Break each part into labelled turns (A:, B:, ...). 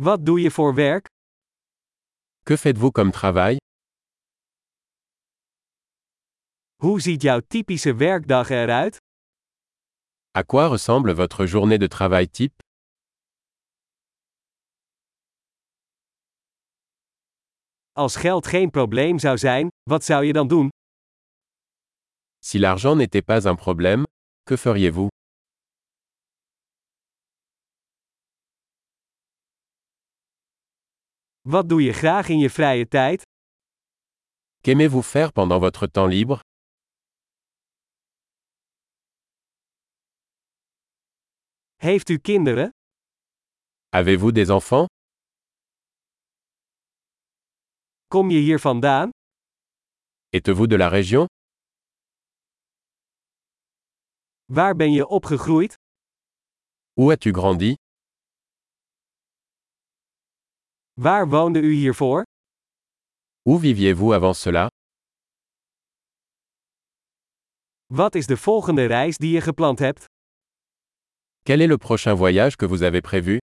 A: Wat doe je voor werk?
B: Que faites-vous comme travail
A: Hoe ziet jouw typische werkdag eruit?
B: À quoi ressemble votre journée de travail type
A: Als geld geen probleem zou zijn, wat zou je dan doen?
B: Si l'argent n'était pas un problème, que feriez-vous
A: Wat doe je graag in je vrije tijd?
B: Qu'aimez-vous faire pendant votre temps libre
A: Heeft u kinderen?
B: Avez-vous des enfants
A: Kom je hier vandaan?
B: Êtes-vous de la région
A: Waar ben je opgegroeid?
B: Où as-tu grandi
A: Waar woonde u hiervoor?
B: Où viviez-vous avant cela
A: Wat is de volgende reis die je gepland hebt?
B: Quel est le prochain voyage que vous avez prévu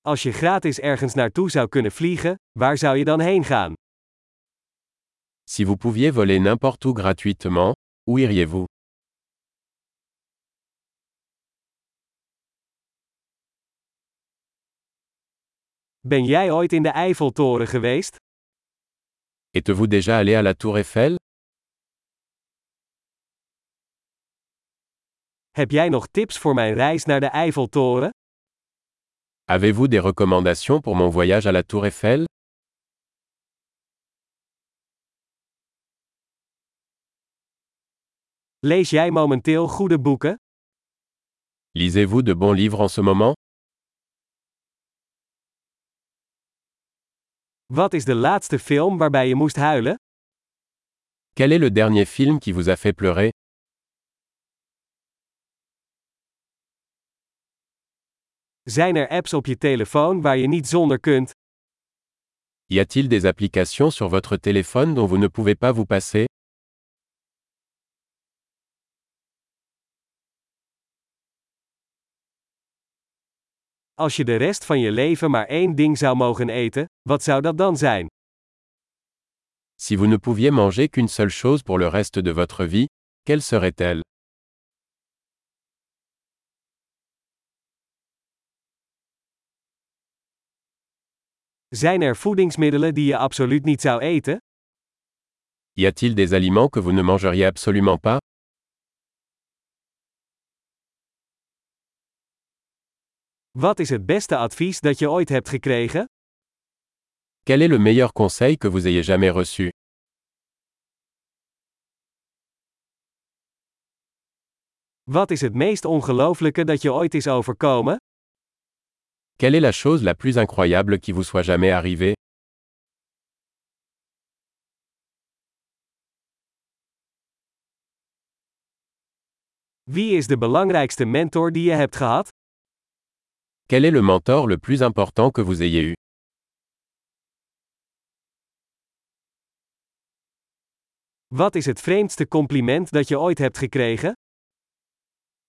A: Als je gratis ergens naartoe zou kunnen vliegen, waar zou je dan heen gaan?
B: Si vous pouviez voler n'importe où gratuitement, où iriez-vous
A: Ben jij ooit in de Eiffeltoren geweest?
B: Êtes-vous déjà allé à la tour Eiffel
A: Heb jij nog tips voor mijn reis naar de Eiffeltoren?
B: Avez-vous des recommandations pour mon voyage à la tour Eiffel
A: Lees jij momenteel goede boeken?
B: Lisez-vous de bons livres en ce moment
A: Wat is de laatste film waarbij je moest huilen?
B: Quel est le dernier film qui vous a fait pleurer
A: Zijn er apps op je telefoon waar je niet zonder kunt?
B: Y a-t-il des applications sur votre téléphone dont vous ne pouvez pas vous passer
A: Als je de rest van je leven maar één ding zou mogen eten, wat zou dat dan zijn?
B: Si vous ne pouviez manger qu'une seule chose pour le reste de votre vie, quelle serait-elle
A: Zijn er voedingsmiddelen die je absoluut niet zou eten?
B: Y a-t-il des aliments que vous ne mangeriez absolument pas
A: Wat is het beste advies dat je ooit hebt gekregen?
B: Quel est le meilleur conseil que vous ayez jamais reçu
A: Wat is het meest ongelooflijke dat je ooit is overkomen?
B: Quelle est la chose la plus incroyable qui vous soit jamais arrivée
A: Wie is de belangrijkste mentor die je hebt gehad?
B: Quel est le mentor le plus important que vous ayez eu
A: Wat is het vreemdste compliment dat je ooit hebt gekregen?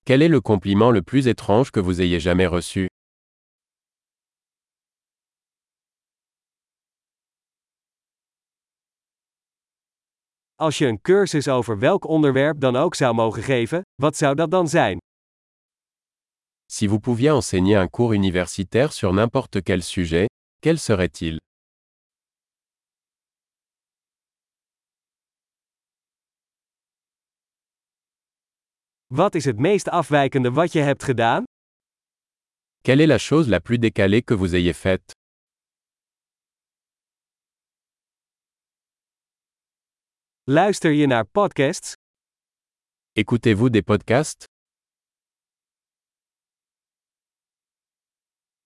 B: Quel est le compliment le plus étrange que vous ayez jamais reçu
A: Als je een cursus over welk onderwerp dan ook zou mogen geven, wat zou dat dan zijn?
B: Si vous pouviez enseigner un cours universitaire sur n'importe quel sujet, quel serait-il
A: Wat is het meest afwijkende wat je hebt gedaan?
B: Quelle est la chose la plus décalée que vous ayez faite
A: Luister je naar podcasts?
B: Écoutez-vous des podcasts